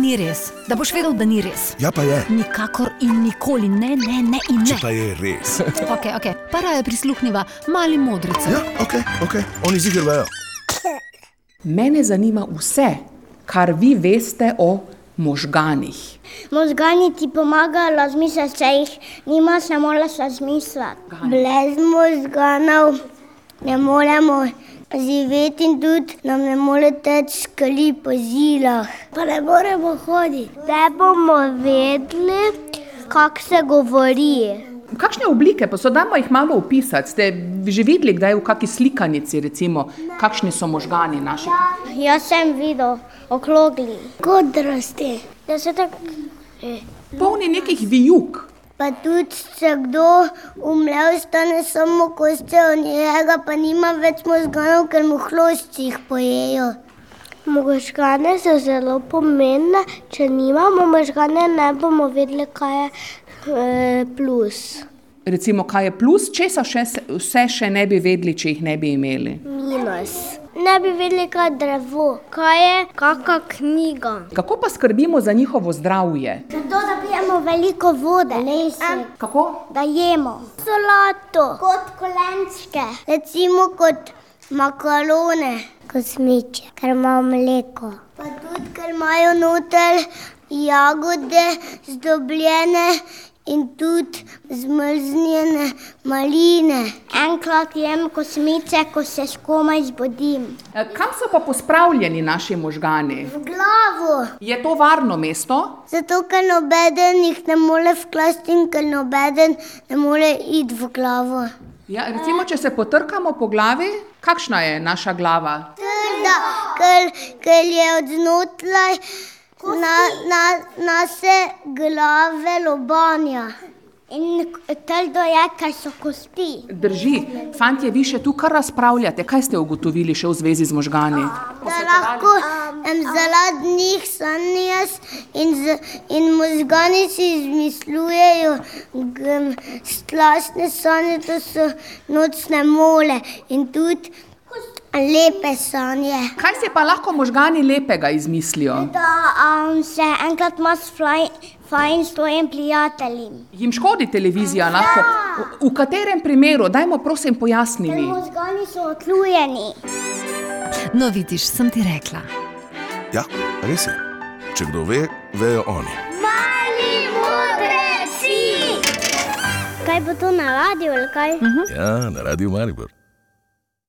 ni res, da boš vedel, da ni res. Ja, pa je. Nikakor in nikoli, ne, ne, ne in Če ne. pa je res. Okay, okay. Para je prisluhnila, mali modrica. Ja, ok, ok, oni zigrajo. Mene zanima vse, kar vi veste o možganih. Možgani ti pomagajo razmišljati, če jih nimaš, ne moreš razmišljati. Brez možganov ne moremo živeti in tudi nam ne more teči skali po zilah. Pa ne moremo hoditi. Te bomo vedeli, kako se govori. Kakšne oblike, pa so dajmo jih malo opisati. Ste že videli, kdaj v kakšni slikanici, recimo, kakšni so možgani naši? Jaz sem videl okrogli. Kot rasti. Da se tako. eh, Polni nekih vijuk. Pa tudi, če kdo umre, ostane samo košče, od njega pa nima več možganov, ker mu hlošči jih pojejo. Možgane so zelo pomembne, če nimamo možgane, ne bomo vedeli, kaj je eh, plus. Recimo, kaj je plus, česa še, se- vse še ne bi vedeli, če jih ne bi imeli. Minus. Ne bi vedeli, kaj je drevo, kaj je kakšna knjiga. Kako pa skrbimo za njihovo zdravje? Zato da pijemo veliko vode, lesek. Kako? da jemo solato, kot kolenčke, recimo kot makarone, kot smeče, ker imamo mleko. Pa tudi, ker imajo noter jagode zdobljene. In tudi zmrznjene maline. Enkrat jem kosmice, ko se komaj zbudim. E, Kam so pa pospravljeni naši možgani? V glavo! Je to varno mesto? Zato, ker nobeden jih ne more vklasti in ker nobeden ne more iti v glavo. Ja, recimo, če se potrkamo po glavi, kakšna je naša glava? trda, ker, ker je od znotraj na, na, naše glave lobanja. In trdo je, ker so kosti. Drži, fantje, vi še tu kar razpravljate. Kaj ste ugotovili še v zvezi z možgani? Da lahko um, zaradi njih sanjaš in, z- in možgani si izmislujejo um, strašne sanje, to so nočne mole in tudi lepe sanje. Kaj se pa lahko možgani lepega izmislijo? Da um, se enkrat imaš flaj- fajn s tvojim prijateljem. Jim škodi televizija lahko? V, v katerem primeru, dajmo prosim pojasniti. Možgani so oklujeni. No, vidiš, sem ti rekla. Ja, res je. Če kdo ve, vejo oni. Mali modreci! Kaj bo to na radiju ali kaj? Ja, na radiju Maribor.